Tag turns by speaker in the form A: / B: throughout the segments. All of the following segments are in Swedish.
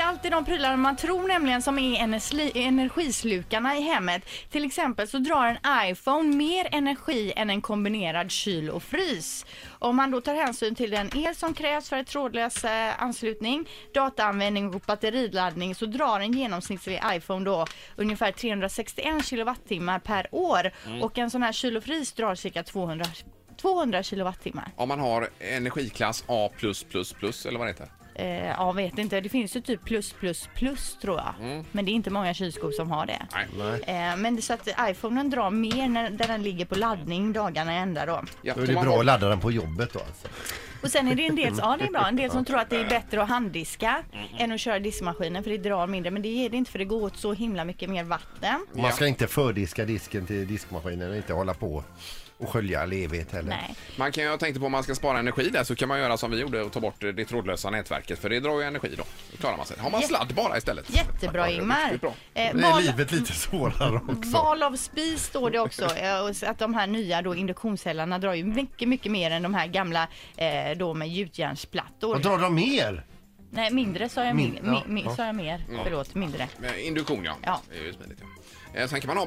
A: alltid de prylar man tror nämligen som är energi, energislukarna i hemmet. Till exempel så drar en iPhone mer energi än en kombinerad kyl och frys. Om man då tar hänsyn till den el som krävs för ett trådlös eh, anslutning, dataanvändning och batteriladdning så drar en genomsnittlig iPhone då ungefär 361 kilowattimmar per år och en sån här kyl och frys drar cirka 200 200 kilowattimmar.
B: Om man har energiklass A++++ eller vad det heter.
A: Eh, ja, vet inte. Det finns ju typ plus, plus, plus tror jag.
C: Mm.
A: Men det är inte många kylskåp som har det.
B: Nej.
A: Eh, men det är så att iPhonen drar mer när, där den ligger på laddning dagarna i ända då.
B: Ja,
C: Då är
B: tar
C: det
B: man
C: bra att
B: bort-
C: ladda den på jobbet då alltså.
A: Och sen är det en del, ja det är bra, en del som tror att det är bättre att handdiska än att köra diskmaskinen för det drar mindre. Men det är det inte för det går åt så himla mycket mer vatten.
C: Man ska inte fördiska disken till diskmaskinen och inte hålla på och skölja all evighet heller.
A: Nej.
B: Man kan, jag tänkte på om man ska spara energi där så kan man göra som vi gjorde och ta bort det trådlösa nätverket för det drar ju energi då. Då klarar man sig. Har man
A: Jä-
B: sladd bara istället.
A: Jättebra Ingmar.
B: riktigt bra.
A: Eh,
C: Det är
A: val-
C: livet lite svårare också.
A: Val av spis står det också. eh, och så Att de här nya då induktionshällarna drar ju mycket, mycket mer än de här gamla eh, då med gjutjärnsplattor.
C: Och drar de mer?
A: Nej, mindre sa jag, min,
C: Min- ja,
A: mi, mi,
C: ja.
A: sa jag mer. Förlåt, mindre.
B: Eh, Induktion ja.
A: Ja.
B: Det är ju smidigt. Ja. Eh, Sen kan man ha,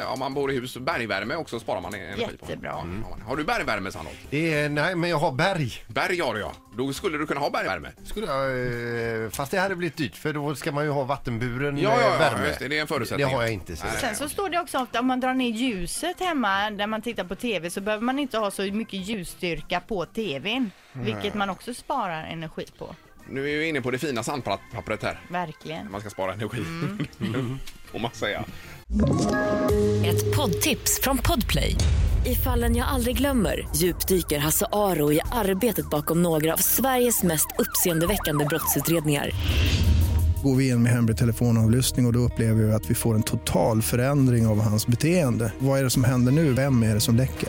B: eh, om man bor i hus, bergvärme också sparar man energi på. Mm.
A: Jättebra.
B: Ja, har man. Har du bergvärme Sandholt?
C: Det är, nej, men jag har berg.
B: Berg har du ja. Då skulle du kunna ha bergvärme.
C: Skulle jag, eh, fast det hade blivit dyrt för då ska man ju ha vattenburen
B: Ja, ja,
C: eh,
B: ja,
C: värme.
B: just det, det är en förutsättning.
C: Det har jag inte. Så.
B: Nej.
A: Sen så står det också ofta om man drar ner ljuset hemma när man tittar på TV så behöver man inte ha så mycket ljusstyrka på TVn. Vilket man också sparar energi på.
B: Nu är vi ju inne på det fina sandpappret här.
A: Verkligen.
B: Man ska spara energi.
A: Mm.
B: Får man säga.
D: Ett poddtips från Podplay. I fallen jag aldrig glömmer djupdyker Hasse Aro i arbetet bakom några av Sveriges mest uppseendeväckande brottsutredningar.
E: Går vi in med hemlig telefonavlyssning och, och då upplever vi att vi får en total förändring av hans beteende. Vad är det som händer nu? Vem är det som läcker?